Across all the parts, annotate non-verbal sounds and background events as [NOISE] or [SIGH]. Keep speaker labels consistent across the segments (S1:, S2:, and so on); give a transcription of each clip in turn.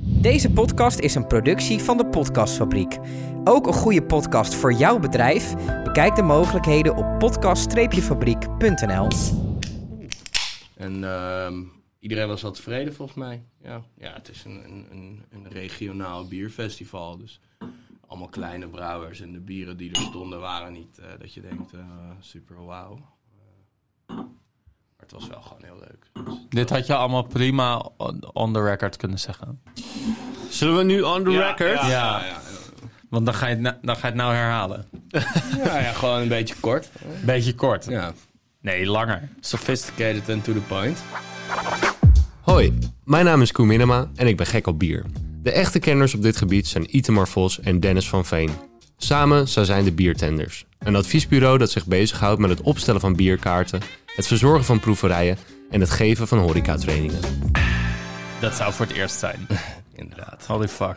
S1: Deze podcast is een productie van de Podcastfabriek. Ook een goede podcast voor jouw bedrijf? Bekijk de mogelijkheden op podcast-fabriek.nl.
S2: En ehm, iedereen was wel tevreden volgens mij. Ja, ja het is een, een, een, een regionaal bierfestival. Dus allemaal kleine brouwers. En de bieren die er stonden waren niet eh, dat je denkt, eh, super wauw. Eh, maar het was wel gewoon heel leuk. Dus-
S3: Dit had je allemaal prima on, on the record kunnen zeggen.
S4: Zullen we nu on the record?
S2: Ja,
S3: Ja.
S2: ja, ja,
S3: Want dan ga je het, na- dan ga je het nou herhalen.
S2: ja, ja, gewoon een beetje kort.
S3: Beetje kort.
S2: Ja,
S3: Nee, langer.
S2: sophisticated and to the point.
S4: Hoi, mijn naam is Koen Minema en ik ben gek op bier. De echte kenners op dit gebied zijn Itemar Vos en Dennis van Veen. Samen zo zijn de Biertenders. Een adviesbureau dat zich bezighoudt met het opstellen van bierkaarten, het verzorgen van proeverijen en het geven van horecatrainingen.
S3: Dat zou voor het eerst zijn.
S2: Inderdaad.
S3: Holy fuck.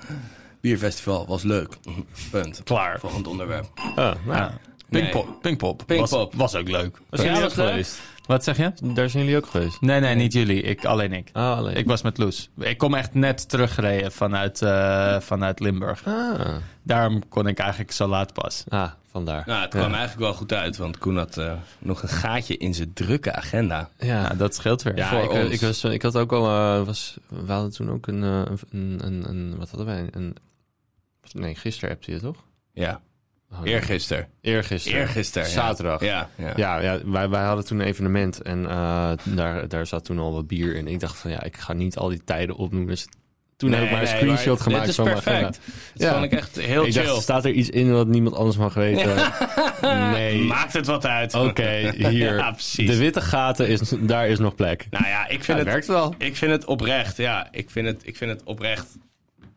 S2: Bierfestival was leuk. [LAUGHS] Punt.
S3: Klaar.
S2: Volgend onderwerp.
S3: Ja. Pinkpop. Oh, nou. Pinkpop.
S2: Pinkpop.
S3: Was, was ook leuk.
S4: Was
S2: jullie ook geweest?
S3: Wat zeg je?
S4: Daar zijn jullie ook geweest.
S3: Nee, nee, niet jullie. Ik, alleen ik.
S4: Ah, alleen.
S3: Ik was met Loes. Ik kom echt net teruggereden vanuit, eh, vanuit Limburg.
S4: Ah,
S3: Daarom kon ik eigenlijk zo laat pas.
S4: ah vandaar.
S2: Nou, het kwam eigenlijk wel goed uit, want Koen had eh, nog een gaatje in zijn drukke agenda.
S4: Ja.
S3: Nou, dat scheelt weer.
S4: Ja,
S2: voor
S4: ik, eh,
S2: ons.
S4: ik, was, ik had ook al, eh, was, we hadden toen ook een, eh, een, een, een wat hadden wij? Een, nee, gisteren appte je toch?
S2: Ja,
S4: Oh, nee.
S2: eergisteren.
S4: Eergisteren.
S2: Eergisteren. ja.
S4: Zaterdag.
S2: Ja, ja.
S4: Ja, ja wij, wij hadden toen een evenement en eh, daar, daar zat toen al wat bier in. Ik dacht van ja, ik ga niet al die tijden opnoemen. Dus toen heb ik maar een screenshot gemaakt
S2: Dit is
S4: van mijn
S2: perfect.
S4: agenda.
S2: Dat
S4: Ja.
S2: vond ik echt heel
S4: ik
S2: chill.
S4: dacht, staat er iets in wat niemand anders mag weten? [LAUGHS] Nee.
S2: Maakt het wat uit.
S4: Oké, hier.
S2: [LAUGHS] Ja, precies.
S4: De witte gaten, is, daar is nog plek.
S2: Nou ja, ik
S4: Ja,
S2: vind,
S4: het
S2: het,
S4: werkt wel.
S2: ik vind het oprecht. Ja, ik vind het, ik vind het oprecht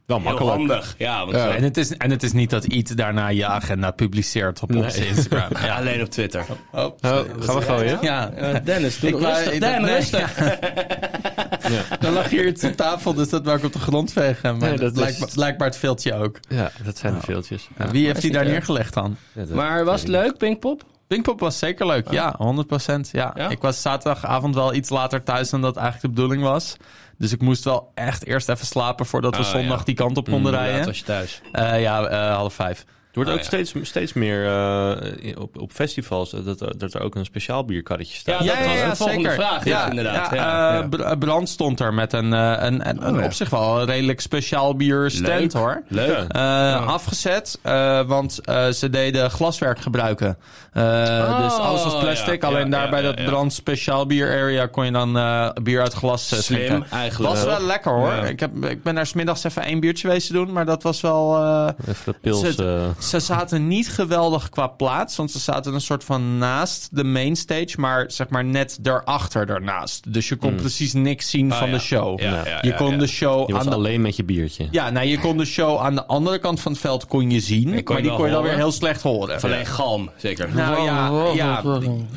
S4: Wel
S2: heel
S4: makkelijk.
S2: handig. Ja, want
S4: Ja.
S2: het
S3: En,
S2: is
S3: het is, en het is niet dat iets daarna je agenda publiceert op onze [LAUGHS] Instagram. Ja.
S2: alleen op Twitter.
S4: Oh, gaan we gooien?
S3: Ja,
S2: Eh, Dennis, doe
S3: Ik wou-
S2: rustig.
S3: ik dacht,
S2: Dan,
S3: nee.
S2: rustig. [LAUGHS]
S3: dan lag hier iets op tafel, dus dat wou ik op de grond vegen. Maar
S4: Nee, dat
S3: dat
S4: is-
S3: blijkbaar, blijkbaar het filtje ook.
S4: Ja, dat zijn
S2: Nou.
S4: de veeltjes. Ja.
S3: Wie heeft die daar
S2: niet erg.
S3: neergelegd dan?
S4: Ja, dat-
S2: Maar was
S4: weet
S2: het
S4: ik
S2: leuk, Pinkpop?
S3: Pinkpop was zeker leuk, ja, 100%. Ja.
S2: Oh. Ja?
S3: Ik was zaterdagavond wel iets later thuis dan dat eigenlijk de bedoeling was. Dus ik moest wel echt eerst even slapen voordat we
S2: Oh,
S3: zondag
S2: ja.
S3: die kant op konden rijden.
S2: was je thuis.
S3: Eh, ja, eh, half vijf.
S4: Het wordt
S2: Ah,
S4: ook
S2: ja.
S4: steeds, steeds meer eh, op, op festivals eh, dat, er- dat er ook een speciaal bierkarretje staat.
S2: Ja, dat was een volgende vraag, ja, inderdaad. Ja,
S3: eh,
S2: ja. Oh,
S3: Br- Brand stond er met een, eh, een, een, een
S2: ja.
S3: op zich wel een redelijk speciaal bier stand, hoor.
S2: Leuk.
S4: Ja.
S3: Eh, Afgezet, eh, want eh, ze deden glaswerk gebruiken. Eh, dus alles was plastic.
S2: Oh, ja,
S3: alleen
S2: ja,
S3: daar
S2: ja,
S3: bij
S2: ja,
S3: dat
S2: ja.
S3: brand speciaal bier area kon je dan eh, bier uit glas eh,
S2: Slim,
S3: schenken.
S2: eigenlijk
S3: Was
S2: wel.
S3: wel lekker hoor.
S2: Ja.
S3: Ik, heb, ik ben daar smiddags even één biertje geweest te doen, maar dat was wel... eh,
S4: Even de pils.
S3: Zit-
S4: eh,
S3: ze zaten niet geweldig qua plaats, want ze zaten een soort van naast de main stage, maar zeg maar net daarachter daarnaast. Dus je kon precies niks zien van
S2: Ah, ja.
S3: de show.
S2: Ja, ja, ja,
S3: je kon
S2: ja.
S3: de show
S4: Hmm. je was
S3: aan de
S4: alleen met je biertje.
S3: ja, nou, je kon de show aan de andere kant van het veld kon je zien,
S2: kon
S3: maar die
S2: wel
S3: kon je dan weer
S2: horen.
S3: heel slecht horen.
S2: Alleen galm, zeker.
S3: Nou ja, ja,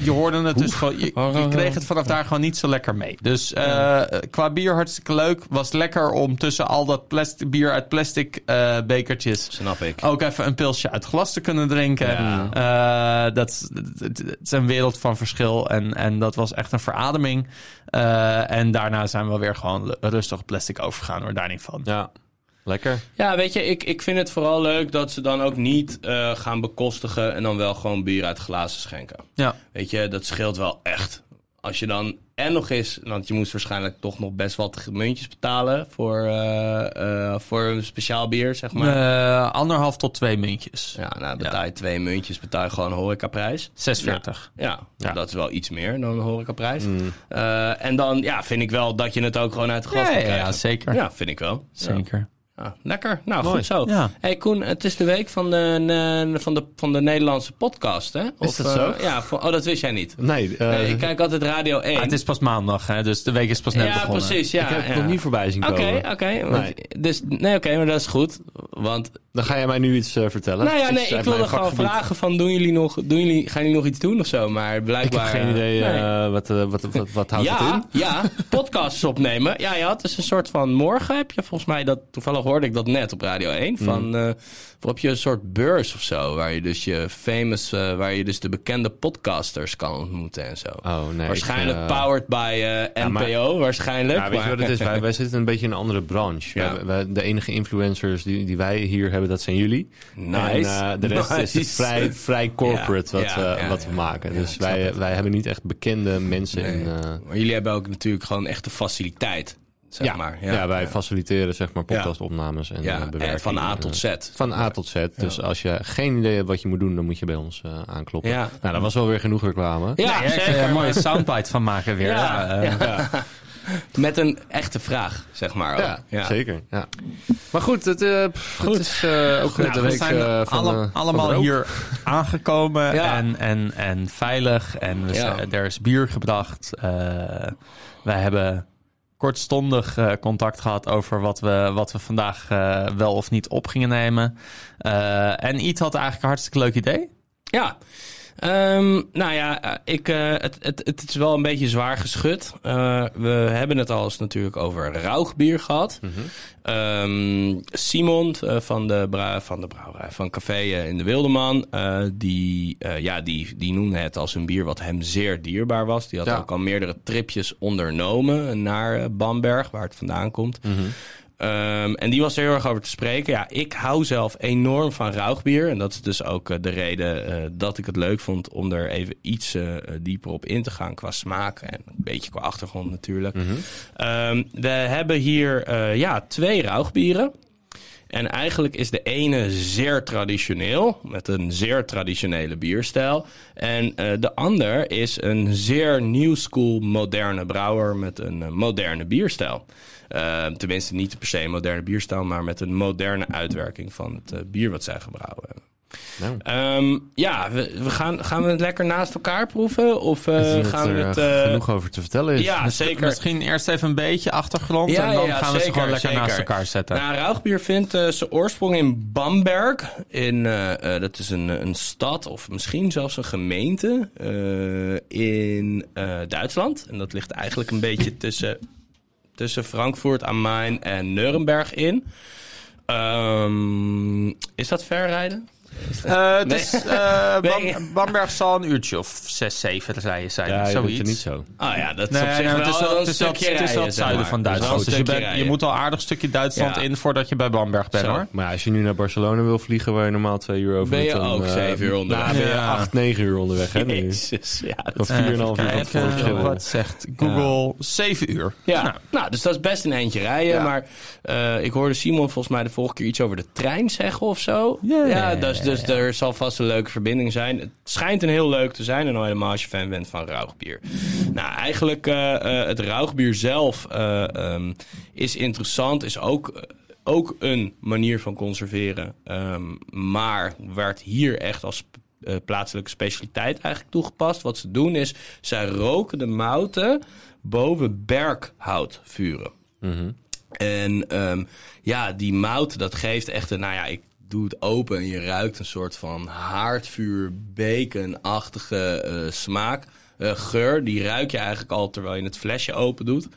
S3: je hoorde het dus gewoon. Je, je kreeg het vanaf daar gewoon niet zo lekker mee. Dus eh, qua bier hartstikke leuk. Was lekker om tussen al dat plastic, bier uit plastic eh, bekertjes
S2: Snap ik.
S3: ook even een pilsje uit glas te kunnen drinken. Eh, dat, is- het- het is een wereld van verschil. En, en dat was echt een verademing. Eh, en daarna zijn we weer gewoon le- rustig plastic overgegaan. Hoor, daar niet van.
S4: Ja, lekker.
S2: Ja, weet je, ik, ik vind het vooral leuk dat ze dan ook niet eh, gaan bekostigen en dan wel gewoon bier uit glazen schenken.
S3: Ja.
S2: Weet je, dat scheelt wel echt. Als je dan en nog eens, want je moest waarschijnlijk toch nog best wat muntjes betalen voor, eh, eh, voor een speciaal bier, zeg maar.
S3: Eh, anderhalf tot twee muntjes.
S2: Ja, nou betaal je twee muntjes, betaal je gewoon een horecaprijs.
S3: 46.
S2: Ja, dat is wel iets meer dan een horecaprijs. Eh, en dan ja, vind ik wel dat je het ook gewoon uit de glas
S3: Ja,
S2: kan
S3: ja,
S2: krijgen.
S3: zeker.
S2: Ja, vind ik wel. Ja.
S3: Zeker.
S2: Ja, lekker. Nou,
S4: Mooi.
S2: goed zo.
S3: Ja.
S2: hey Koen, het is de week van de, ne- van de, van de Nederlandse podcast, hè?
S4: dat zo?
S2: eh, ja, voor- oh, dat wist jij niet.
S4: Nee, eh,
S2: Nee, ik
S4: ik,
S2: kijk altijd Radio 1.
S3: Ah, het is pas maandag, hè, dus de week is pas net
S2: ja,
S3: begonnen.
S2: precies. Ja,
S4: heb het
S2: ja.
S4: nog niet voorbij zien
S2: Oké,
S4: komen.
S2: oké. want-
S4: Nee.
S2: Dus, nee, oké, maar dat is goed. Want
S4: Dan ga jij mij nu iets eh, vertellen.
S2: Nou ja,
S4: Iets
S2: nee,
S4: uit
S2: ik
S4: mijn
S2: wilde gewoon
S4: vakgebied.
S2: vragen van, doen jullie nog, doen jullie, gaan jullie nog iets doen of zo? Maar
S4: Ik heb
S2: blijkbaar...
S4: geen idee
S2: eh, nee.
S4: eh, wat, eh, wat, wat, wat houdt het in.
S2: ja, ja, podcasts opnemen. Ja, ja, het is een soort van morgen heb je volgens mij dat. Toevallig hoorde ik dat net op Radio 1.
S4: Mm.
S2: Van, eh, waarop je een soort beurs of zo. Waar je dus je famous, eh, waar je dus de bekende podcasters kan ontmoeten en zo.
S4: Oh, nee,
S2: waarschijnlijk
S4: ik, eh,
S2: powered by eh,
S4: ja, maar-
S2: NPO, waarschijnlijk.
S4: Ja, weet je
S2: maar-
S4: wat het is?
S2: [LAUGHS]
S4: Wij, wij zitten een beetje in een andere branche.
S2: Ja.
S4: Wij- wij- de enige influencers die, die wij hier hebben, dat zijn jullie.
S2: Nice.
S4: En eh, de rest is het
S2: Nice.
S4: vrij, vrij corporate
S2: Ja,
S4: wat,
S2: ja,
S4: we-
S2: ja,
S4: wat
S2: ja.
S4: we maken.
S2: Ja,
S4: dus
S2: ik snap
S4: wij,
S2: het.
S4: wij hebben niet echt bekende mensen
S2: Nee.
S4: in... eh,
S2: maar jullie hebben ook natuurlijk gewoon echt de faciliteit. Zeg maar.
S4: ja, wij faciliteren zeg maar podcastopnames en
S2: Ja,
S4: eh,
S2: en
S4: bewerking.
S2: van A tot Z.
S4: Van A tot Z. Dus als je geen idee hebt wat je moet doen, dan moet je bij ons eh, aankloppen.
S2: Ja.
S4: Nou, dat was wel weer genoeg reclame.
S2: Ja,
S3: Ja, daar kun je
S2: zeker.
S3: een mooie soundbite van maken weer.
S2: Ja,
S3: Ja, eh,
S2: [LAUGHS] Met een echte vraag, zeg maar. ook.
S4: Ja, zeker. Ja. Maar goed, het, eh, pff, het is eh, ook
S3: Nou,
S4: de
S3: we
S4: week
S3: zijn
S4: eh, van
S3: alle-
S4: eh, van
S3: allemaal
S4: de rook.
S3: hier aangekomen
S2: Ja.
S3: en, en, en veilig. En we
S2: Ja.
S3: zijn- er is bier gebracht. Eh, wij hebben kortstondig eh, contact gehad over wat we, wat we vandaag eh, wel of niet op gingen nemen. Eh, en Iet had eigenlijk een hartstikke leuk idee.
S2: Ja. Ehm, nou ja, eh, ik, eh, het, het, het is wel een beetje zwaar geschud. Eh, we hebben het al eens natuurlijk over rauwbier gehad. Ehm, Simon eh, van de, bra- van de brouwerij van Café eh, in de Wildeman... eh, die, eh, ja, die, die noemde het als een bier wat hem zeer dierbaar was. Die had
S4: Ja.
S2: ook al meerdere tripjes ondernomen naar eh, Bamberg, waar het vandaan komt. Ehm, en die was er heel erg over te spreken. Ja, ik hou zelf enorm van rauwbier. En dat is dus ook eh, de reden eh, dat ik het leuk vond om er even iets eh, eh, dieper op in te gaan qua smaak. En een beetje qua achtergrond natuurlijk. Ehm, we hebben hier eh, ja, twee rauwbieren. En eigenlijk is de ene zeer traditioneel, met een zeer traditionele bierstijl. En eh, de ander is een zeer new school moderne brouwer met een eh, moderne bierstijl. Eh, tenminste, niet per se een moderne bierstijl, maar met een moderne uitwerking van het eh, bier wat zij gebrouwen hebben.
S4: Nou.
S2: Ehm, ja, we, we gaan, gaan we het lekker naast elkaar proeven? Of eh,
S4: Ik denk dat
S2: gaan we
S4: er,
S2: het.
S4: eh,
S2: eh,
S4: genoeg over te vertellen is.
S2: ja,
S3: Misschien-
S2: zeker.
S3: Misschien eerst even een beetje achtergrond.
S2: Ja,
S3: en dan
S2: ja, ja,
S3: gaan we ze
S2: zeker,
S3: gewoon lekker
S2: zeker.
S3: naast elkaar zetten.
S2: Nou, Rauchbier vindt eh, zijn oorsprong in Bamberg. In, eh, eh, dat is een, eh, een stad of misschien zelfs een gemeente eh, in eh, Duitsland. En dat ligt eigenlijk een beetje tussen, tussen Frankfurt am Main en Nuremberg in. Ehm, is dat ver rijden?
S3: Eh, het is, eh,
S2: Nee.
S3: Bam- Bamberg zal een uurtje of zes, zeven rijden zijn.
S4: Ja, je bent
S3: zoiets.
S4: er niet zo.
S2: Ah ja, dat is
S3: Nee,
S2: op zich
S3: nee,
S2: wel
S3: het is wel,
S2: een
S3: het is wel,
S2: stukje
S3: het is wel
S2: rijden, zeg
S3: het zuiden
S2: maar.
S3: van
S2: Het is wel
S3: Duitsland.
S2: een
S3: Dus je,
S2: stukje
S3: bent- je
S2: rijden.
S3: moet al aardig stukje Duitsland
S2: Ja.
S3: in voordat je bij Bamberg bent
S2: Zo.
S3: hoor.
S4: Maar ja, als je nu naar Barcelona wil vliegen, waar je normaal twee uur over
S2: Ben
S4: moet,
S2: je
S4: dan,
S2: ook
S4: eh,
S2: zeven uur onderweg.
S4: Nou, ben je
S3: Ja.
S4: acht, negen uur onderweg, hè? nu.
S2: [LAUGHS] Jezus, ja, dat
S4: Of vier en een half uur van
S3: Even
S4: tevoren
S3: kijken
S4: schillen.
S3: wat zegt Google. 7 uur.
S2: Ja,
S3: Nou,
S2: nou. dus dat is best een eindje rijden. Maar eh, ik hoorde Simon volgens mij de vorige keer iets over de trein zeggen of zo.
S3: Ja, ja,
S2: ja,
S3: ja,
S2: dus,
S3: ja,
S2: dus er zal vast een leuke verbinding zijn. Het schijnt een heel leuk te zijn en al helemaal als je fan bent van rauwbier. Nou, eigenlijk eh, eh, het rauwbier zelf eh, ehm, is interessant, is ook... eh, ook een manier van conserveren, ehm, maar werd hier echt als eh, plaatselijke specialiteit eigenlijk toegepast. Wat ze doen is, zij roken de mouten boven berkhout vuren. En ehm, ja, die mout, dat geeft echt een, nou ja, ik doe het open en je ruikt een soort van haardvuur, bekenachtige eh, smaak, eh, geur. Die ruik je eigenlijk al terwijl je het flesje open doet.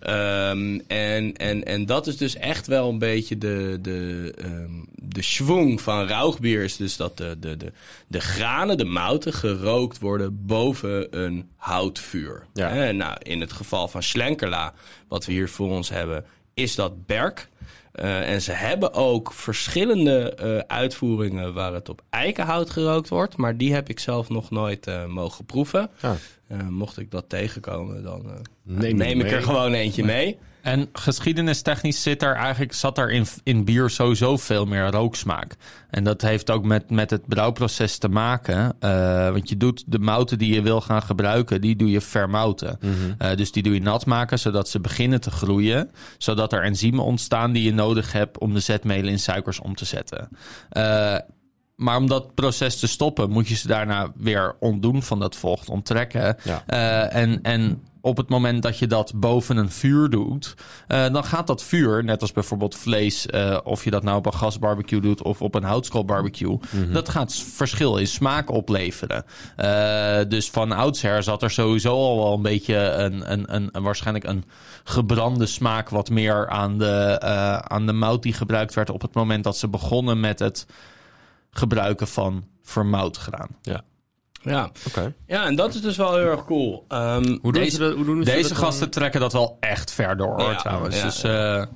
S2: Ehm, en, en, en dat is dus echt wel een beetje de, de, ehm de schwung van rauwbier. Is dus dat de, de, de, de granen, de mouten, gerookt worden boven een houtvuur.
S4: Ja.
S2: Hè, en nou, in het geval van Schlenkerla, wat we hier voor ons hebben, is dat berk. Eh, en ze hebben ook verschillende eh, uitvoeringen waar het op eikenhout gerookt wordt. Maar die heb ik zelf nog nooit eh, mogen proeven.
S4: Ja.
S2: Eh, mocht ik dat tegenkomen, dan eh,
S4: Neem
S2: neem,
S4: het
S2: ik
S4: mee.
S2: er gewoon eentje mee.
S3: En geschiedenistechnisch zit er eigenlijk, zat er in, in bier sowieso veel meer rooksmaak. En dat heeft ook met, met het brouwproces te maken. eh, want je doet de mouten die je wil gaan gebruiken, die doe je vermouten. Eh, dus die doe je nat maken, zodat ze beginnen te groeien. Zodat er enzymen ontstaan die je nodig hebt om de zetmeel in suikers om te zetten. Eh, Maar om dat proces te stoppen, moet je ze daarna weer ontdoen van dat vocht, onttrekken.
S4: Ja.
S3: Eh, en, en op het moment dat je dat boven een vuur doet, eh, dan gaat dat vuur, net als bijvoorbeeld vlees, eh, of je dat nou op een gasbarbecue doet of op een houtskoolbarbecue, dat gaat s- verschil in smaak opleveren. Eh, dus van oudsher zat er sowieso al wel een beetje een, een, een, een- waarschijnlijk een gebrande smaak, wat meer aan de, eh, aan de mout die gebruikt werd op het moment dat ze begonnen met het gebruiken van vermoutgraan.
S2: Ja.
S4: Oké.
S2: ja, en dat is dus wel heel erg cool. Ehm,
S4: Hoe doen
S3: Deze-
S4: ze dat? Hoe doen ze
S3: Deze
S4: dat
S3: gasten
S4: dan-
S3: trekken dat wel echt ver door, hoor,
S2: Ja,
S3: trouwens.
S2: ja,
S3: dus, eh,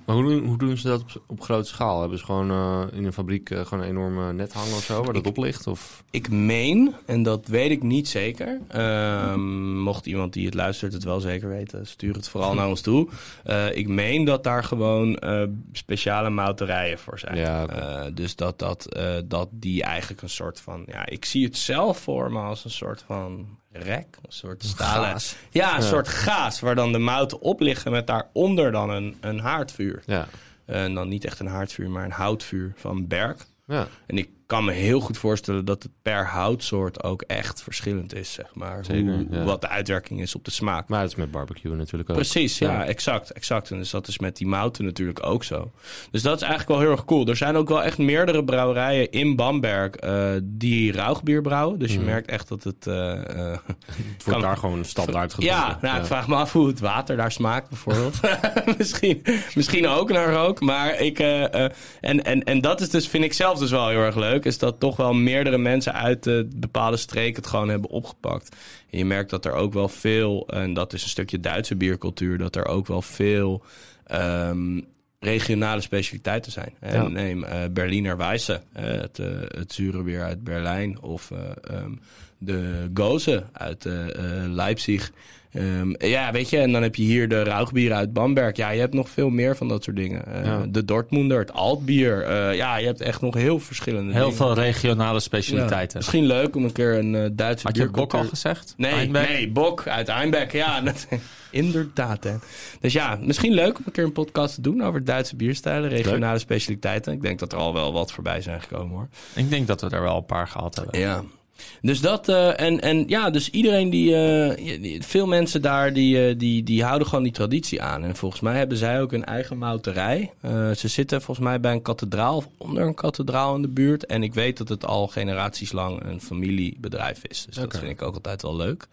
S4: Maar hoe doen, hoe doen ze dat op, op grote schaal? Hebben ze gewoon eh, in een fabriek eh, gewoon een enorme net hangen of zo waar dat op ligt? Of...
S2: Ik meen, en dat weet ik niet zeker. ehm, mocht iemand die het luistert het wel zeker weten, stuur het vooral naar ons toe. Eh, ik meen dat daar gewoon eh, speciale mouterijen voor zijn.
S4: Ja, oké.
S2: Eh, dus dat, dat, eh, dat die eigenlijk een soort van. Ja, ik zie het zelf voor me als een soort van rek. Een soort stalen.
S4: Gaas.
S2: Ja, een soort gaas waar dan de mouten op liggen met daaronder dan een, een haardvuur. Eh,
S4: Ja.
S2: En dan niet echt een haardvuur, maar een houtvuur van berk.
S4: ja.
S2: En ik kan me heel goed voorstellen dat het per houtsoort ook echt verschillend is, zeg maar.
S4: Zeker,
S2: hoe,
S4: ja.
S2: Wat de uitwerking is op de smaak.
S4: Maar het is met barbecue natuurlijk ook.
S2: Precies, ja,
S4: Ja.
S2: exact, exact. En dus dat is met die mouten natuurlijk ook zo. Dus dat is eigenlijk wel heel erg cool. Er zijn ook wel echt meerdere brouwerijen in Bamberg eh, die rauwbier brouwen. Dus je
S4: Mm.
S2: merkt echt dat het... eh, eh,
S4: Het
S2: kan-
S4: gewoon standaard
S2: ja, nou, ik vraag me af hoe het water daar smaakt, bijvoorbeeld. [LAUGHS] misschien, misschien ook naar rook. Maar ik. eh, eh, en, en, en dat is dus, vind ik zelf dus wel heel erg leuk. Is dat toch wel meerdere mensen uit eh, bepaalde streken het gewoon hebben opgepakt. En je merkt dat er ook wel veel. En dat is een stukje Duitse biercultuur. Dat er ook wel veel. ehm, regionale specialiteiten zijn. En
S4: Ja.
S2: neem eh, Berliner Weisse, eh, het, eh, het zure bier uit Berlijn. Of eh, ehm, de Goze uit eh, eh, Leipzig. Ehm, ja, weet je, en dan heb je hier de rauwbieren uit Bamberg. Ja, je hebt nog veel meer van dat soort dingen. Eh,
S4: Ja.
S2: De Dortmunder, het Altbier. Eh, ja, je hebt echt nog heel verschillende
S3: heel
S2: dingen.
S3: veel regionale
S2: Ja.
S3: specialiteiten.
S2: Misschien leuk om een keer een eh, Duitse
S3: Had je Bok
S2: biercultuur-
S3: al gezegd?
S2: Nee,
S3: Eindberg?
S2: nee, Bok uit Einbeck. Ja, dat- inderdaad. Hè. Dus ja, misschien leuk om een keer een podcast te doen over Duitse bierstijlen, regionale specialiteiten. Ik denk dat er al wel wat voorbij zijn gekomen hoor.
S3: Ik denk dat we er wel een paar gehad hebben.
S2: Ja. Dus dat, eh, en, en ja, dus iedereen die, eh, die- veel mensen daar, die, eh, die, die houden gewoon die traditie aan. En volgens mij hebben zij ook een eigen mouterij. Eh, ze zitten volgens mij bij een kathedraal of onder een kathedraal in de buurt. En ik weet dat het al generaties lang een familiebedrijf is. Dus dat vind ik ook altijd wel leuk.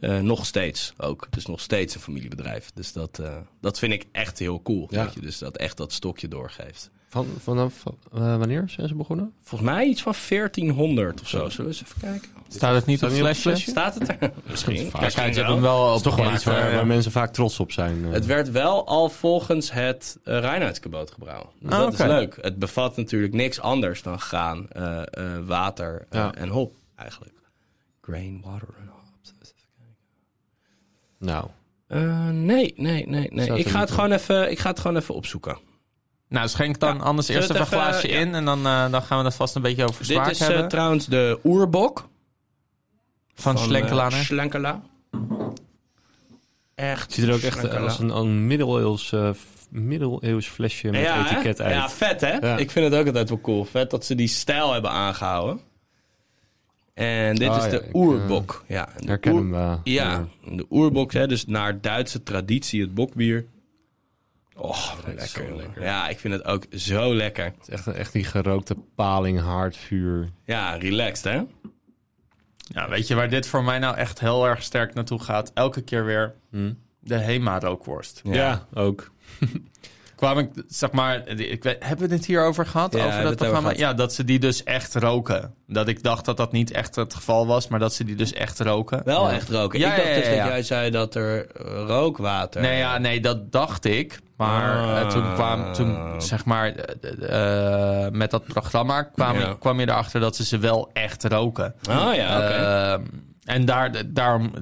S2: Eh, nog steeds ook. Het is nog steeds een familiebedrijf. Dus dat, eh, dat vind ik echt heel cool.
S4: Ja.
S2: Dat je dus dat echt dat stokje doorgeeft.
S4: Van, vanaf eh, wanneer zijn ze begonnen?
S2: Volgens mij iets van 1400 of zo. Zullen we eens even kijken?
S3: Staat het niet op een
S4: Staat het niet op
S3: flesje?
S4: het flesje?
S2: Staat het er? [LAUGHS] Misschien.
S3: Kijk,
S2: Misschien
S3: uit, je
S2: wel.
S3: hebt hem wel
S4: Dat is
S3: op
S4: toch wel iets waar,
S3: gemaakt,
S4: waar
S3: maar-
S4: mensen vaak trots op zijn. eh.
S2: Het werd wel al volgens het eh Reinheidskaboot gebrouwen. Dus
S3: Ah,
S2: dat
S3: oké.
S2: is leuk. Het bevat natuurlijk niks anders dan graan, eh, eh, water eh,
S4: Ja.
S2: en hop eigenlijk. Grain, water en hop.
S4: Nou,
S2: Eh, nee, nee, nee, nee.
S4: Staat er
S2: Ik ga,
S4: niet
S2: het
S4: op.
S2: gewoon even, ik ga het gewoon even opzoeken.
S3: Nou, schenk dan
S2: Ja.
S3: anders
S2: Zullen
S3: eerst
S2: we
S3: even een
S2: het even,
S3: glaasje
S2: ja.
S3: in en dan, eh, dan gaan we dat vast een beetje over smaak
S2: Dit is eh,
S3: hebben.
S2: trouwens de oerbok.
S3: van
S2: eh,
S3: Schlenkelaar.
S2: Schlenkelaar. Echt.
S4: het ziet er ook echt eh,
S2: Schlenkelaar.
S4: als een, een middeleeuws, eh, f- middeleeuws flesje met
S2: hè?
S4: etiket uit.
S2: Ja, vet hè?
S4: Ja.
S2: Ik vind het ook altijd wel cool. Vet dat ze die stijl hebben aangehouden. En dit
S4: Ah,
S2: is
S4: ja,
S2: de
S4: ik,
S2: oerbok. ja, en de
S4: Herken
S2: oer-
S4: hem. eh,
S2: Ja, de oerbok, hè, dus naar Duitse traditie het bokbier. Oh, lekker, jongen. Ja, ik vind het ook zo lekker.
S4: Het is echt, echt die gerookte paling, haardvuur.
S2: Ja, relaxed hè?
S3: Ja, weet je waar dit voor mij nou echt heel erg sterk naartoe gaat? Elke keer weer de Hema-rookworst.
S2: Ja.
S4: ook.
S3: Kwam ik, zeg maar, ik weet, hebben we dit hierover gehad?
S2: Ja,
S3: over
S2: hebben we
S3: dat
S2: het over
S3: programma?
S2: gehad.
S3: Ja, dat ze die dus echt roken. Dat ik dacht dat dat niet echt het geval was, maar dat ze die dus echt roken.
S2: Wel echt roken.
S3: Ja,
S2: ik dacht
S3: ja, ja,
S2: dus
S3: ja.
S2: dat jij zei dat er eh, rookwater...
S3: Nee, ja, nee, dat dacht ik. Maar
S2: Ah.
S3: eh, toen kwam, toen, zeg maar, eh, eh, met dat programma kwam,
S2: Ja.
S3: kwam je erachter dat ze ze wel echt roken.
S2: Oh ja, oké.
S3: Ehm, en daar, daarom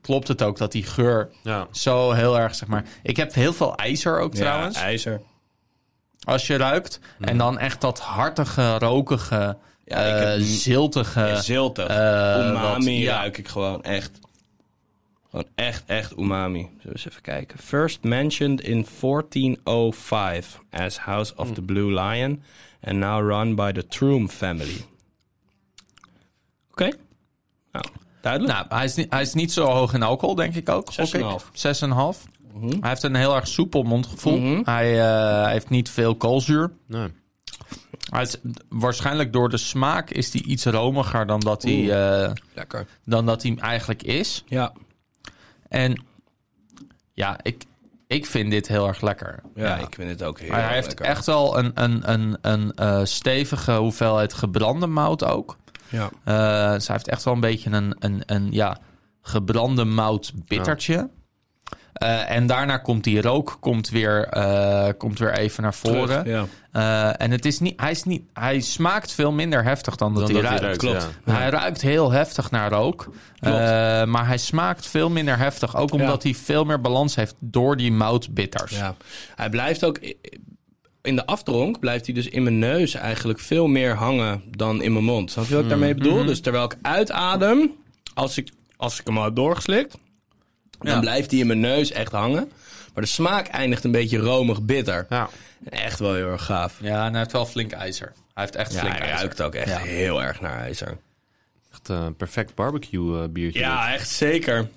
S3: klopt het ook dat die geur
S4: Ja.
S3: zo heel erg, zeg maar... Ik heb heel veel ijzer ook trouwens.
S2: Ja, ijzer.
S3: als je ruikt. En dan echt dat hartige, rokige,
S2: Mhm. Ja, ik
S3: eh,
S2: heb-
S3: ziltige...
S2: Ja, ziltig.
S3: eh,
S2: umami
S3: wat- ja.
S2: ruik ik gewoon echt. Gewoon echt, echt umami. Zullen we eens even kijken. First mentioned in
S3: Hmm.
S2: 1405 as House of the Blue Lion. And now run by the Troom family. Duidelijk.
S3: Nou, hij is, niet, hij is niet zo hoog in alcohol, denk ik ook.
S2: Zes en een half. Mhm.
S3: 6,5. 6,5. Hij heeft een heel erg soepel mondgevoel. Hij eh, heeft niet veel koolzuur.
S4: Nee.
S3: Hij is, waarschijnlijk door de smaak is hij iets romiger dan dat hij, eh,
S2: Lekker.
S3: dan dat hij eigenlijk is.
S2: Ja.
S3: En ja, ik, ik vind dit heel erg lekker.
S2: ja, ik vind het ook heel
S3: Maar hij heeft
S2: lekker.
S3: echt wel een, een, een, een eh, stevige hoeveelheid gebrande mout ook.
S2: Ja.
S3: Eh, dus hij heeft echt wel een beetje een, een, een ja, gebrande mout bittertje. Eh, en daarna komt die rook komt weer, eh, komt weer even naar voren.
S2: Terug, Ja.
S3: Eh, en het is niet, hij, is niet, hij smaakt veel minder heftig dan dat,
S4: Dan
S3: hij,
S4: dat hij
S3: ruikt.
S4: ruikt,
S3: Klopt. Hij ruikt heel heftig naar rook. Eh, maar hij smaakt veel minder heftig. Ook omdat hij veel meer balans heeft door die moutbitters.
S2: Ja, hij blijft ook in de afdronk blijft hij dus in mijn neus eigenlijk veel meer hangen dan in mijn mond. Snap je wat ik daarmee bedoel? Dus terwijl ik uitadem, als ik, als ik hem al heb doorgeslikt, dan
S3: Ja.
S2: blijft hij in mijn neus echt hangen. Maar de smaak eindigt een beetje romig bitter.
S4: Ja.
S2: Echt wel heel erg gaaf.
S3: Ja, en hij heeft wel flink ijzer. Hij heeft echt
S2: Ja,
S3: flink
S2: hij
S3: ijzer.
S2: ruikt ook echt
S3: Ja.
S2: heel erg naar ijzer.
S4: Echt eh, een perfect barbecue eh, biertje. dit.
S2: Ja, echt zeker.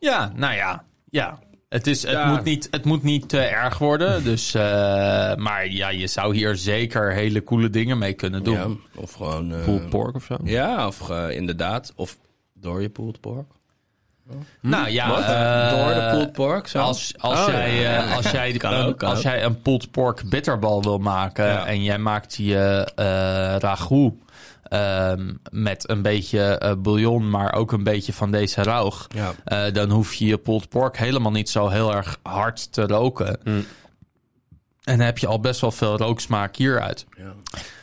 S3: Ja, nou ja. ja. Het, is, het,
S2: Ja.
S3: Moet niet, het moet niet te erg worden. Dus, eh, maar ja, je zou hier zeker hele coole dingen mee kunnen doen.
S2: Ja, of gewoon... eh,
S4: Pulled pork of zo.
S2: ja, of eh, inderdaad. Of door je pulled pork.
S3: Nou ja,
S2: Wat?
S3: eh,
S2: door de pulled pork? Zo?
S3: Als, als,
S2: Oh,
S3: jij,
S2: ja, [LAUGHS]
S3: eh, als, jij,
S2: Kan
S3: een,
S2: ook, kan
S3: als
S2: ook.
S3: jij een pulled pork bitterbal wil maken
S2: Ja.
S3: en jij maakt je eh ragout ehm, met een beetje eh, bouillon, maar ook een beetje van deze rauw,
S2: Ja.
S3: eh, dan hoef je je pulled pork helemaal niet zo heel erg hard te roken.
S2: Mm.
S3: En dan heb je al best wel veel rooksmaak hieruit.
S2: Ja.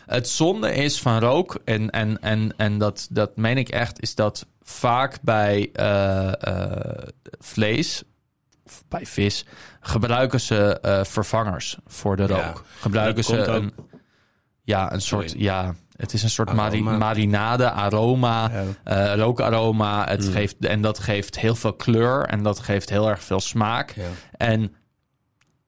S3: Het zonde is van rook, en, en, en, en dat, dat meen ik echt, is dat vaak bij eh, eh, vlees, of bij vis, gebruiken ze eh, vervangers voor de rook.
S2: Ja,
S3: gebruiken
S2: dat
S3: ze
S2: komt ook-
S3: een, ja, een soort,
S2: Sorry.
S3: ja, het is een soort mari-
S2: Aroma.
S3: marinade, aroma, eh, rookaroma.
S2: Mm.
S3: Het geeft, en dat geeft heel veel kleur en dat geeft heel erg veel smaak.
S2: Ja.
S3: En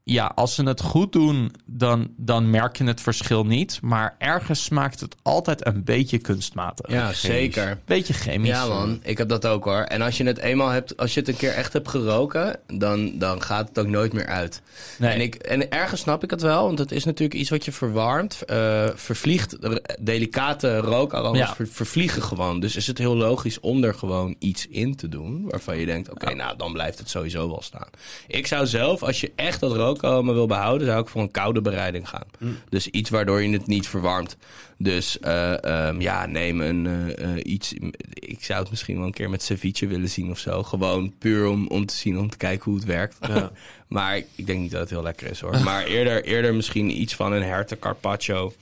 S3: ja, als ze het goed doen, dan, dan merk je het verschil niet. Maar ergens smaakt het altijd een beetje kunstmatig.
S2: Ja, zeker.
S3: Beetje chemisch.
S2: Ja man, ik heb dat ook hoor. En als je het eenmaal hebt, als je het een keer echt hebt geroken, dan, dan gaat het ook nooit meer uit.
S3: Nee.
S2: En, ik, en ergens snap ik het wel, want het is natuurlijk iets wat je verwarmt, eh, vervliegt. R- Delicate rookaromas
S3: Ja.
S2: ver- vervliegen gewoon. Dus is het heel logisch om er gewoon iets in te doen waarvan je denkt, oké, nou dan blijft het sowieso wel staan. Ik zou zelf, als je echt dat rookkomen wil behouden, zou ik voor een koude bereiding gaan.
S3: Mm.
S2: Dus iets waardoor je het niet verwarmt. Dus eh, ehm, ja, neem een eh, eh, iets. Ik zou het misschien wel een keer met ceviche willen zien of zo. Gewoon puur om, om te zien, om te kijken hoe het werkt. [LAUGHS] maar ik denk niet dat het heel lekker is hoor. Maar eerder, eerder misschien iets van een herten carpaccio.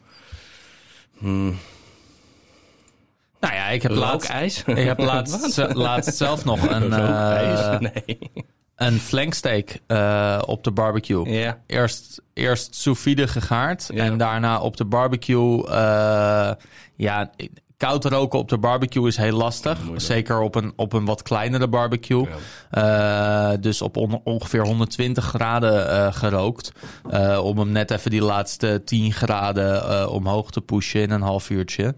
S3: Nou ja, ik heb
S2: [LAUGHS]
S3: laatst,
S2: Rookijs?
S3: ik heb laatst, ze- laatst zelf nog een, eh
S2: nee.
S3: een flanksteak eh, op de barbecue.
S2: Ja.
S3: Eerst, eerst sous vide gegaard
S2: Ja.
S3: en daarna op de barbecue. eh, ja, koud roken op de barbecue is heel lastig. Zeker op een, op een wat kleinere barbecue. Eh, dus op on- ongeveer 120 graden eh, gerookt. Eh, om hem net even die laatste 10 graden eh, omhoog te pushen in een half uurtje.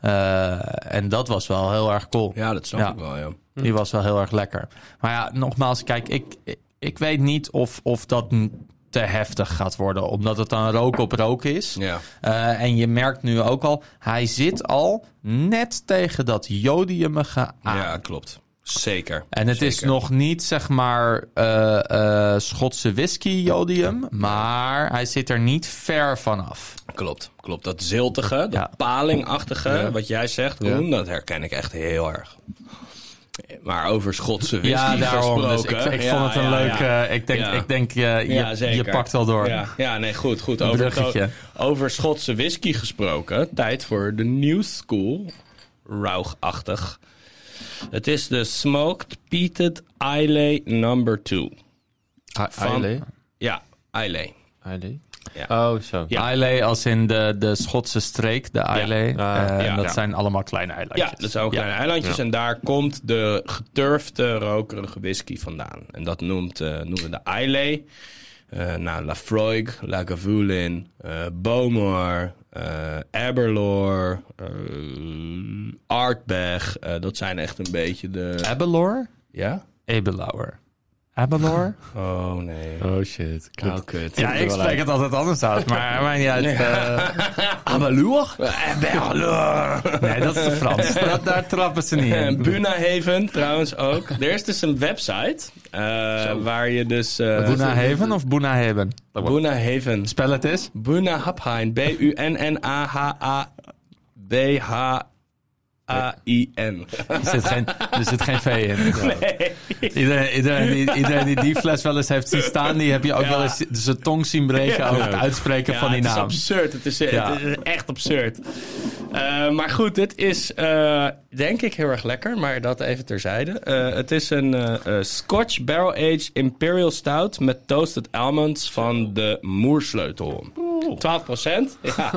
S3: Eh, en dat was wel heel erg cool.
S2: Ja, dat snap
S3: Ja.
S2: ik wel, ja.
S3: Die was wel heel erg lekker. Maar ja, nogmaals, kijk, ik, ik- ik weet niet of, of dat n- te heftig gaat worden. Omdat het dan rook op rook is.
S2: Ja.
S3: Eh, en je merkt nu ook al, hij zit al net tegen dat jodiumige aan.
S2: Ja, klopt. Zeker.
S3: Ah. En het is
S2: Zeker.
S3: nog niet, zeg maar, eh, eh, Schotse whisky-jodium. Maar hij zit er niet ver vanaf.
S2: Klopt, klopt. Dat ziltige, dat
S3: Ja.
S2: palingachtige, wat jij zegt, Roen, dat herken ik echt heel erg. Maar over Schotse whisky
S3: ja, daarom. Dus ik
S2: gesproken...
S3: ik
S2: Ja,
S3: vond het een
S2: ja,
S3: leuk...
S2: ja.
S3: eh, ik denk,
S2: Ja.
S3: ik denk eh, je,
S2: Ja,
S3: je
S2: zeker.
S3: pakt wel door.
S2: Ja, ja, nee, goed, goed. Over,
S3: bruggetje.
S2: over Schotse whisky gesproken, tijd voor de New School. Rauwachtig. Het is de Smoked Peated Islay Number 2.
S4: Van- Islay?
S2: Ja, Islay.
S4: Islay?
S2: Ja.
S4: Oh, zo.
S2: Ja.
S3: Islay als in de, de Schotse streek, de Islay.
S4: Ah,
S3: Eh,
S2: ja.
S3: Dat
S2: Ja.
S3: zijn allemaal kleine eilandjes.
S2: Ja, dat zijn ook kleine eilandjes. En daar komt de geturfde rokerige whisky vandaan. En dat noemt, eh, noemen we de Islay. eh nou, Lafroig, La Gavulin, eh Bomar, eh Aberlour, eh, Artbeg. eh, dat zijn echt een beetje de...
S3: Abelor?
S2: Ja?
S3: Abelauer. Abelor?
S2: Oh, nee.
S5: Oh shit.
S2: Nou, kut.
S3: [LAUGHS] ja, ik spreek het altijd anders [LAUGHS] uit, maar maakt niet uit. eh. [LAUGHS] Abelor? Nee, dat is de Frans. [LAUGHS] Dat, daar trappen ze niet [LAUGHS]
S2: En
S3: in.
S2: Bunahaven trouwens ook. Er is dus een website eh, waar je dus... eh
S3: Boenaheven of Boenaheven?
S2: Bunahaven.
S3: Spel het eens.
S2: Buna Haphain. B-U-N-N-A-H-A-B-H-A-I-N.
S3: Er zit geen, er zit geen V [LAUGHS] in. Iedereen, iedereen, die, iedereen die die fles wel eens heeft zien staan, die heb je ook
S2: Ja.
S3: wel eens zijn tong zien breken
S2: Ja.
S3: over het uitspreken
S2: Ja,
S3: van die naam.
S2: Het is absurd. Het is, eh,
S3: Ja.
S2: het is echt absurd. Eh, maar goed, het is eh, denk ik heel erg lekker, maar dat even terzijde. Eh, het is een eh, eh, Scotch Barrel Aged Imperial Stout met toasted almonds van de Moersleutel. 12 Ja.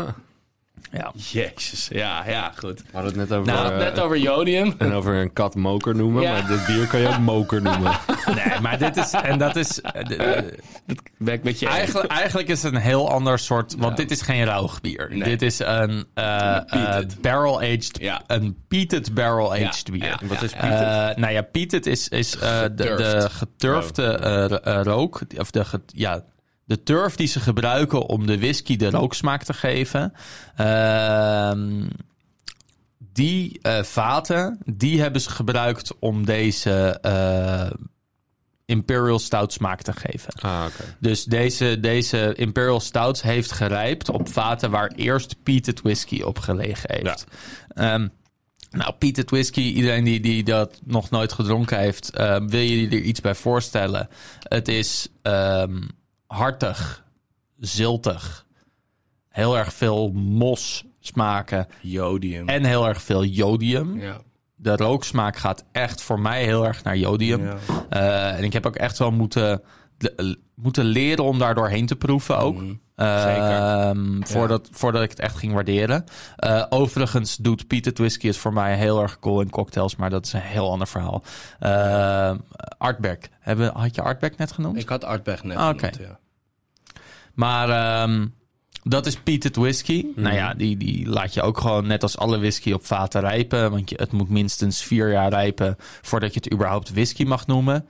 S3: Ja.
S2: Jezus. Ja, ja, goed.
S4: We hadden het net over,
S2: Nou,
S4: eh,
S2: We hadden het net over jodium.
S4: en over een kat moker noemen,
S2: Ja.
S4: maar dit bier kan je ook
S2: [LAUGHS]
S4: moker noemen.
S3: Nee, maar dit is. En dat is. eh, de- de-
S2: Ben ik met je eens.
S3: eigenlijk, eigenlijk is het een heel ander soort. Want dit is geen rauw bier.
S2: Nou. Nee.
S3: Dit is een
S2: Peated.
S3: barrel aged.
S2: Ja.
S3: Een peated barrel aged
S2: Ja,
S3: bier.
S2: ja,
S4: Wat is
S3: Eh, nou ja, peated is, is eh, de, de
S2: Geturfd.
S3: geturfde eh, ro- eh, rook. Of de, get- ja, de turf die ze gebruiken om de whisky de rooksmaak te geven. Ehm, die eh, vaten, die hebben ze gebruikt om deze eh, Imperial Stout smaak te geven.
S4: Ah, oké.
S3: Dus deze, deze Imperial Stout heeft gerijpt op vaten waar eerst peated whisky op gelegen heeft. Ehm, nou, peated whisky, iedereen die, die dat nog nooit gedronken heeft, ehm, wil je er iets bij voorstellen? Het is ehm, hartig, ziltig, heel erg veel mos smaken
S2: Jodium.
S3: en heel erg veel jodium.
S2: Ja.
S3: De rooksmaak gaat echt voor mij heel erg naar jodium.
S2: Ja.
S3: Eh, en ik heb ook echt wel moeten, de- eh, moeten leren om daar doorheen te proeven ook. Ehm, voordat, voordat ik het echt ging waarderen. Eh, overigens doet Peated Whisky het voor mij heel erg cool in cocktails, maar dat is een heel ander verhaal. Ehm Artback. Hebben, had je Artback net genoemd?
S2: Ik had Artbeg net.
S3: Ah,
S2: Oké.
S3: oké. Maar ehm, dat is peated whisky.
S2: Mhm.
S3: Nou ja, die, die laat je ook gewoon net als alle whisky op vaten rijpen. Want je, het moet minstens vier jaar rijpen voordat je het überhaupt whisky mag noemen.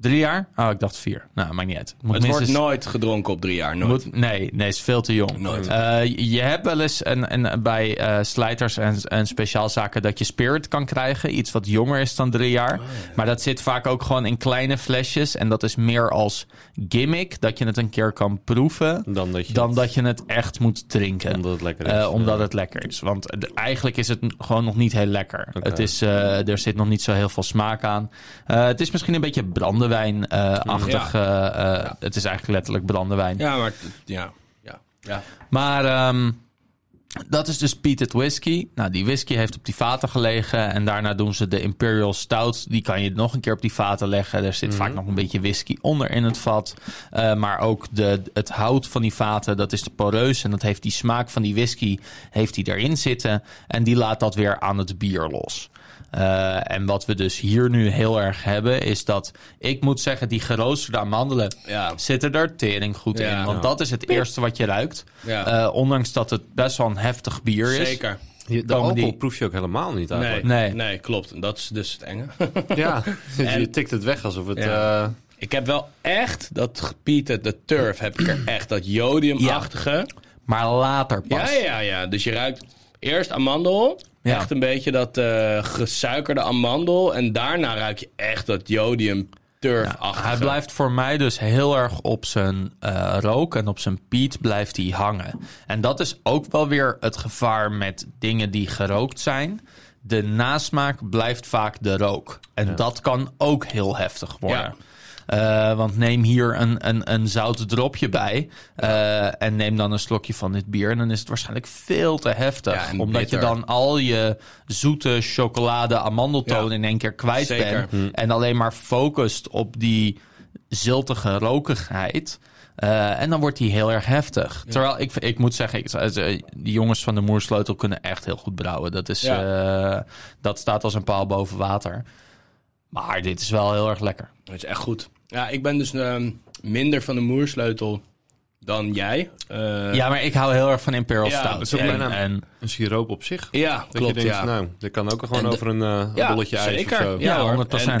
S3: Drie jaar? Oh, ik dacht vier. Nou, maakt niet uit. Het moet
S2: Het wordt
S3: minstens-
S2: nooit gedronken op drie jaar. Nooit.
S3: moet, nee, nee, is veel te jong.
S2: Nooit.
S3: Eh, je hebt wel eens een, een, bij eh, slijters en, en speciaalzaken dat je spirit kan krijgen. Iets wat jonger is dan drie
S2: Oh,
S3: jaar. Maar dat zit vaak ook gewoon in kleine flesjes. En dat is meer als gimmick. Dat je het een keer kan proeven.
S4: Dan dat je
S3: dan
S4: het-
S3: dat je het echt moet drinken.
S4: Omdat het lekker is,
S3: Eh,
S4: ja.
S3: omdat het lekker is. Want de- eigenlijk is het n- gewoon nog niet heel lekker. Het is, eh, er zit nog niet zo heel veel smaak aan. Eh, het is misschien een beetje eh, brandewijn-achtig. eh, Het is eigenlijk letterlijk brandewijn.
S2: Ja, maar... het- Ja. Ja. ja.
S3: Maar ehm, dat is dus peated whisky. Nou, die whisky heeft op die vaten gelegen. En daarna doen ze de Imperial Stout. Die kan je nog een keer op die vaten leggen. Er zit
S2: Mhm.
S3: vaak nog een beetje whisky onder in het vat. Eh, maar ook de, het hout van die vaten, dat is de poreus. En dat heeft die smaak van die whisky heeft die erin zitten. En die laat dat weer aan het bier los. Eh, en wat we dus hier nu heel erg hebben, is dat ik moet zeggen, die geroosterde amandelen
S2: Ja.
S3: zitten er tering goed
S2: Ja.
S3: in. Want dat is het eerste wat je ruikt.
S2: Ja.
S3: Eh, ondanks dat het best wel een heftig bier is.
S2: Zeker.
S4: Je- De
S3: Komen
S4: alcohol
S3: die-
S4: proef je ook helemaal niet
S2: Nee,
S4: eigenlijk.
S3: Nee.
S2: nee. klopt. En dat is dus het enge. [LAUGHS]
S4: Ja, Dus je tikt het weg alsof het...
S2: Ja.
S4: eh,
S2: ik heb wel echt dat gepieten, de turf, heb ik
S3: [CLEARS THROAT]
S2: er echt. Dat jodiumachtige.
S3: Maar later pas.
S2: Ja, ja, ja. Dus je ruikt eerst amandel.
S3: Ja.
S2: Echt een beetje dat eh, gesuikerde amandel. En daarna ruik je echt dat jodium turfachtige.
S3: Hij blijft voor mij dus heel erg op zijn eh, rook en op zijn piet blijft hij hangen. En dat is ook wel weer het gevaar met dingen die gerookt zijn. De nasmaak blijft vaak de rook. En dat kan ook heel heftig worden.
S2: Ja.
S3: Eh, want neem hier een, een, een zout dropje bij. eh, en neem dan een slokje van dit bier. En dan is het waarschijnlijk veel te heftig.
S2: Ja, en
S3: omdat je
S2: bitter.
S3: dan al je zoete chocolade amandeltoon
S2: Ja.
S3: in één keer kwijt kwijt
S2: Zeker.
S3: ben. En alleen maar focust op die ziltige rokigheid. Eh, en dan wordt die heel erg heftig. Terwijl ik, ik moet zeggen, ik, eh, die jongens van de Moersleutel kunnen echt heel goed brouwen. Dat, is, eh, dat staat als een paal boven water. Maar dit is wel heel erg lekker.
S2: Het is echt goed. Ja, ik ben dus ehm, minder van de moersleutel dan jij. Eh,
S3: ja, maar ik hou heel erg van Imperial
S2: Ja,
S3: Stout.
S2: dat is
S4: ook mijn
S3: en,
S4: naam.
S3: en-
S4: Een siroop op zich.
S2: ja,
S4: Dat
S2: klopt.
S4: je denkt,
S2: ja.
S4: nou, dat kan ook gewoon
S2: En de-
S4: over een, eh, een bolletje ijs of zo.
S3: Ja,
S2: hoor.
S3: 100%.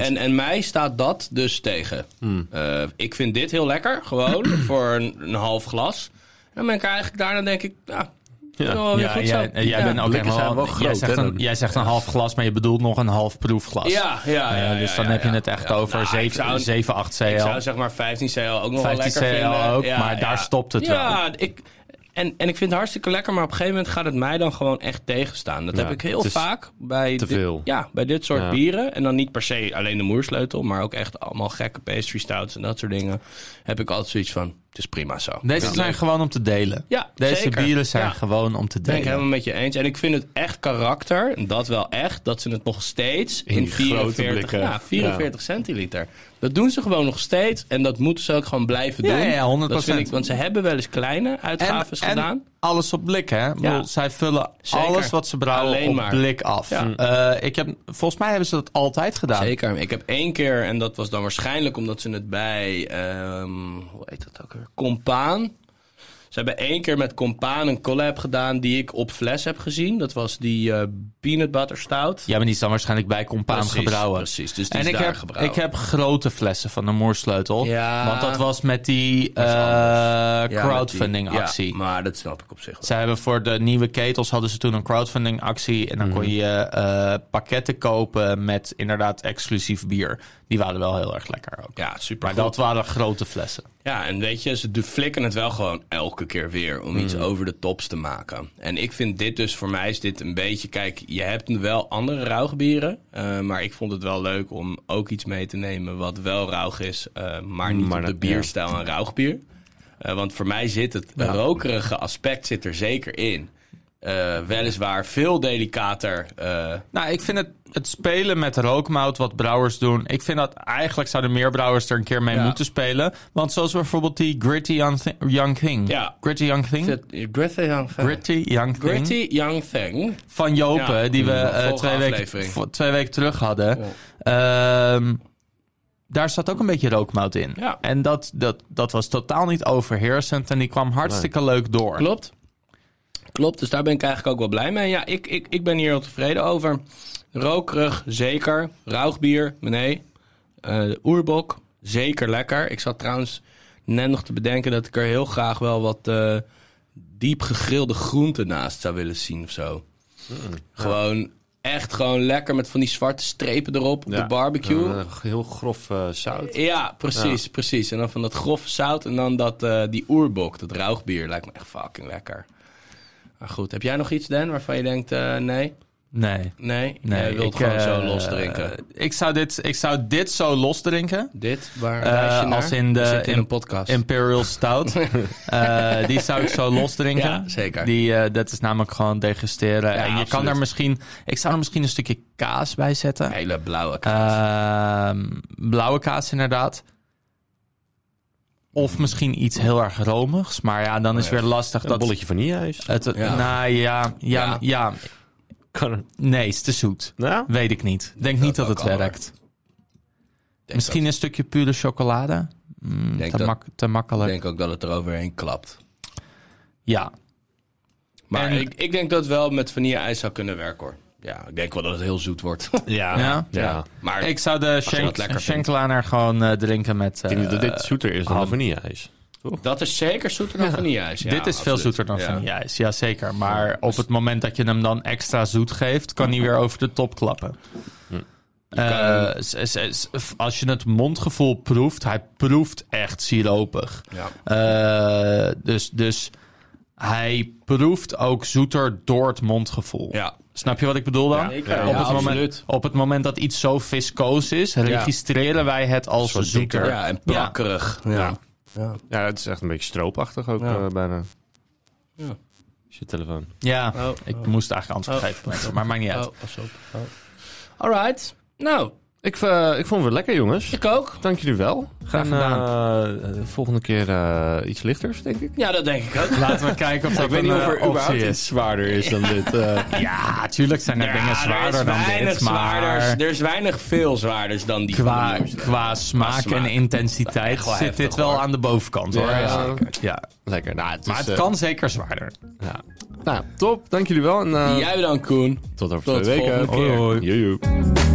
S2: En, en, en mij staat dat dus tegen.
S4: Hmm.
S2: Eh, ik vind dit heel lekker, gewoon, [CLEARS THROAT] voor een, een half glas. En dan ben ik eigenlijk daarna denk ik, nou,
S4: Ja.
S2: dat is wel weer
S3: ja,
S2: goed zo.
S3: jij, en jij
S2: Ja.
S3: bent ook
S4: blikken
S3: echt
S4: zijn wel
S3: jij,
S4: groot,
S3: zegt
S4: hè,
S3: een,
S4: dan.
S3: jij zegt een half glas, maar je bedoelt nog een half proefglas.
S2: Ja, ja, ja,
S3: Eh, dus
S2: ja,
S3: dan
S2: ja,
S3: heb je
S2: ja.
S3: het echt
S2: Ja,
S3: over
S2: nou, ik
S3: 7,
S2: zou-
S3: 7 8 CL.
S2: Ik zou zeg maar 15 CL ook nog wel
S3: 15
S2: lekker
S3: CL
S2: vinden.
S3: ook, maar daar stopt het
S2: Ja, ik, en, en ik vind het hartstikke lekker, maar op een gegeven moment gaat het mij dan gewoon echt tegenstaan. Dat
S4: Ja,
S2: heb ik heel
S4: het is
S2: vaak bij,
S4: te
S2: dit-
S4: veel.
S2: ja, bij dit soort
S4: Ja.
S2: bieren. En dan niet per se alleen de moersleutel, maar ook echt allemaal gekke pastry stouts en dat soort dingen. Heb ik altijd zoiets van, het is prima zo.
S3: Deze
S2: Ja.
S3: zijn gewoon om te delen.
S2: Ja,
S3: Deze
S2: zeker.
S3: bieren zijn
S2: Ja.
S3: gewoon om te
S2: Ben ik
S3: delen.
S2: helemaal met je eens. En ik vind het echt karakter, en dat wel echt, dat ze het nog steeds in,
S4: die grote
S2: 44,
S4: blikken.
S2: ja, 44 centiliter. Dat doen ze gewoon nog steeds en dat moeten ze ook gewoon blijven
S3: Ja,
S2: doen.
S3: ja, 100%.
S2: Dat vind ik, want ze hebben wel eens kleine uitgaves gedaan.
S3: alles op blik, hè? Ik bedoel, zij vullen
S2: Zeker.
S3: alles wat ze brouwen
S2: Alleen
S3: op
S2: maar.
S3: blik af.
S2: Ja.
S3: Eh, ik heb, volgens mij hebben ze dat altijd gedaan.
S2: Zeker. Ik heb één keer, en dat was dan waarschijnlijk omdat ze het bij, ehm, hoe heet dat ook weer? Compaan. Ze hebben één keer met Compaan een collab gedaan die ik op fles heb gezien. Dat was die eh, peanut butter stout.
S3: Ja, maar die is dan waarschijnlijk bij Compaan
S2: Precies,
S3: gebrouwen.
S2: precies. Dus die
S3: en
S2: is
S3: ik
S2: daar
S3: heb,
S2: gebrouwen.
S3: ik heb grote flessen van de Moersleutel.
S2: Ja.
S3: Want dat was met die eh,
S2: Ja,
S3: crowdfunding
S2: met die-
S3: actie.
S2: Ja, maar dat snap ik op zich wel.
S3: Zij hebben voor de nieuwe ketels hadden ze toen een crowdfunding actie. En dan kon je eh, pakketten kopen met inderdaad exclusief bier. Die waren wel heel erg lekker ook.
S2: Ja, super.
S3: maar dat waren grote flessen.
S2: Ja, en weet je, ze do- flikken het wel gewoon elke keer weer om iets over de tops te maken. En ik vind dit dus, voor mij is dit een beetje, kijk, je hebt wel andere rauwgebieren. eh, maar ik vond het wel leuk om ook iets mee te nemen wat wel rauwig is, eh, maar niet
S4: Maar
S2: op de
S4: dat-
S2: bierstijl een rauwgebier. Eh, want voor mij zit het rokerige aspect zit er zeker in. Eh, weliswaar veel delicater. eh,
S3: Nou, ik vind het, het spelen met rookmout wat brouwers doen. Ik vind dat eigenlijk zouden meer brouwers er een keer mee
S2: Ja.
S3: moeten spelen. Want zoals bijvoorbeeld die Gritty Young, Thi- Young Thing.
S2: Ja.
S3: Gritty Young Thing?
S2: gritty young thing.
S3: eh, Gritty Young Thing.
S2: Gritty young thing.
S3: Van Jopen,
S2: Ja.
S3: die we
S2: Mm,
S3: eh,
S2: vorige
S3: twee, weken,
S2: aflevering.
S3: vo- twee weken terug hadden. Ehm, daar zat ook een beetje rookmout in.
S2: Ja.
S3: En dat, dat, dat was totaal niet overheersend. En die kwam hartstikke leuk door.
S2: Klopt. Klopt, dus daar ben ik eigenlijk ook wel blij mee. Ja, ik, ik, ik ben hier heel tevreden over. Rokerig, zeker. Rauwbier, nee. Eh oerbok, zeker lekker. Ik zat trouwens net nog te bedenken dat ik er heel graag wel wat eh, diep gegrilde groenten naast zou willen zien of zo.
S4: Mm,
S2: Gewoon echt gewoon lekker met van die zwarte strepen erop op
S4: Ja.
S2: de barbecue.
S4: Dan, eh, heel grof eh, zout.
S2: Ja, precies, precies. En dan van dat grove zout en dan dat, eh, die oerbok, dat rauwbier, lijkt me echt fucking lekker. Maar goed, heb jij nog iets, Dan, waarvan je denkt, eh, nee,
S3: Nee.
S2: nee, nee,
S3: Nee,
S2: jij wilt
S3: ik,
S2: gewoon zo
S3: eh,
S2: los drinken.
S3: Ik zou, dit, ik zou dit zo los drinken.
S2: Dit, waar
S3: Eh,
S2: wijs je naar?
S3: als in de-
S2: We zitten in
S3: in-
S2: een podcast.
S3: Imperial Stout.
S2: [LAUGHS]
S3: Eh, die zou ik zo los drinken.
S2: Ja, zeker.
S3: Die, eh, dat is namelijk gewoon degusteren. en je kan
S2: absoluut.
S3: daar misschien... Ik zou er misschien een stukje kaas bij zetten.
S2: Hele
S3: Eh,
S2: blauwe kaas.
S3: Ehm, blauwe kaas inderdaad. Of misschien iets heel erg romigs. Maar ja, dan is
S2: Oh ja.
S3: weer lastig
S4: Een
S3: dat...
S4: bolletje vanilleijs.
S3: Het,
S2: Ja.
S3: Nou ja, ja,
S2: Ja.
S3: ja,
S4: Kan er.
S3: Nee, het is te zoet.
S4: Nou?
S3: Weet ik niet. Denk niet
S2: dat
S3: dat
S2: ook
S3: het
S2: al
S3: werkt.
S2: Ik
S3: Misschien een stukje pure chocolade. Mm,
S2: Denk
S3: te,
S2: dat-
S3: mak- te
S2: dat,
S3: makkelijk.
S2: ik denk ook dat het er overheen klapt.
S3: Ja.
S2: Maar
S3: En-
S2: ik, ik denk dat het wel met vanille-ijs zou kunnen werken, hoor. Ja, ik denk wel dat het heel zoet wordt. [LAUGHS]
S4: Ja.
S3: Ja?
S4: ja.
S2: maar
S3: Ik zou de
S2: Ah je dat lekker
S3: Schenk-
S2: vindt.
S3: Schenkelaner gewoon eh, drinken met...
S4: Ik denk
S3: eh,
S4: dat dit zoeter is dan de vanilleijs.
S2: dat is zeker zoeter dan vanille-ijs. Ja,
S3: dit is veel
S2: absoluut.
S3: zoeter dan
S2: Ja.
S3: vanilleijs. Ja, zeker. Maar op het moment dat je hem dan extra zoet geeft, kan hij weer over de top klappen.
S2: Hm.
S3: Eh, s- s- s- f- als je het mondgevoel proeft, hij proeft echt siropig.
S2: Ja.
S3: Eh, dus, dus hij proeft ook zoeter door het mondgevoel.
S2: Ja.
S3: Snap je wat ik bedoel dan?
S2: Ja, zeker.
S3: op,
S2: eh, Ja,
S3: het moment,
S2: absoluut.
S3: op het moment dat iets zo viscoos is, registreren wij het als
S4: Een soort
S3: zoeter.
S2: Ja, en plakkerig.
S4: Ja. ja. het is echt een beetje stroopachtig ook
S2: Ja.
S4: eh, bijna.
S2: Ja.
S4: Is je telefoon.
S3: Ja,
S2: Oh,
S3: ik moest eigenlijk antwoord
S2: Oh.
S3: geven, mensen, maar maakt niet uit.
S2: pas op. Alright. Nou,
S4: Ik, eh, ik vond het wel lekker, jongens.
S2: Ik ook.
S4: Dank jullie wel.
S3: Graag
S4: En, eh, eh, volgende keer eh, iets lichters, denk ik.
S2: Ja, dat denk [LAUGHS] ik ook.
S3: Laten we kijken of dat
S4: ik weet
S3: een,
S4: niet of er
S3: eh, optie
S4: überhaupt iets
S3: is.
S4: zwaarder is dan dit. eh.
S3: Ja, tuurlijk zijn er dingen zwaarder dan dit, maar
S2: Er is weinig veel zwaarders dan die.
S3: qua,
S2: van de nieuwste.
S3: qua smaak
S2: smaak.
S3: en intensiteit
S2: Echt wel
S3: zit dit
S2: heftig,
S3: wel
S2: hoor.
S3: aan de bovenkant, hoor.
S4: Ja,
S3: Ja.
S4: zeker.
S3: Ja.
S4: [LAUGHS]
S3: Dus,
S4: lekker. Nou, het is,
S3: Maar het
S4: eh,
S3: kan zeker zwaarder.
S4: ja. Nou, top. Dank jullie wel. En, eh,
S2: Jij dan, Koen.
S4: Tot over
S2: Tot
S4: twee weken.
S2: volgende keer.
S4: Joe, joe.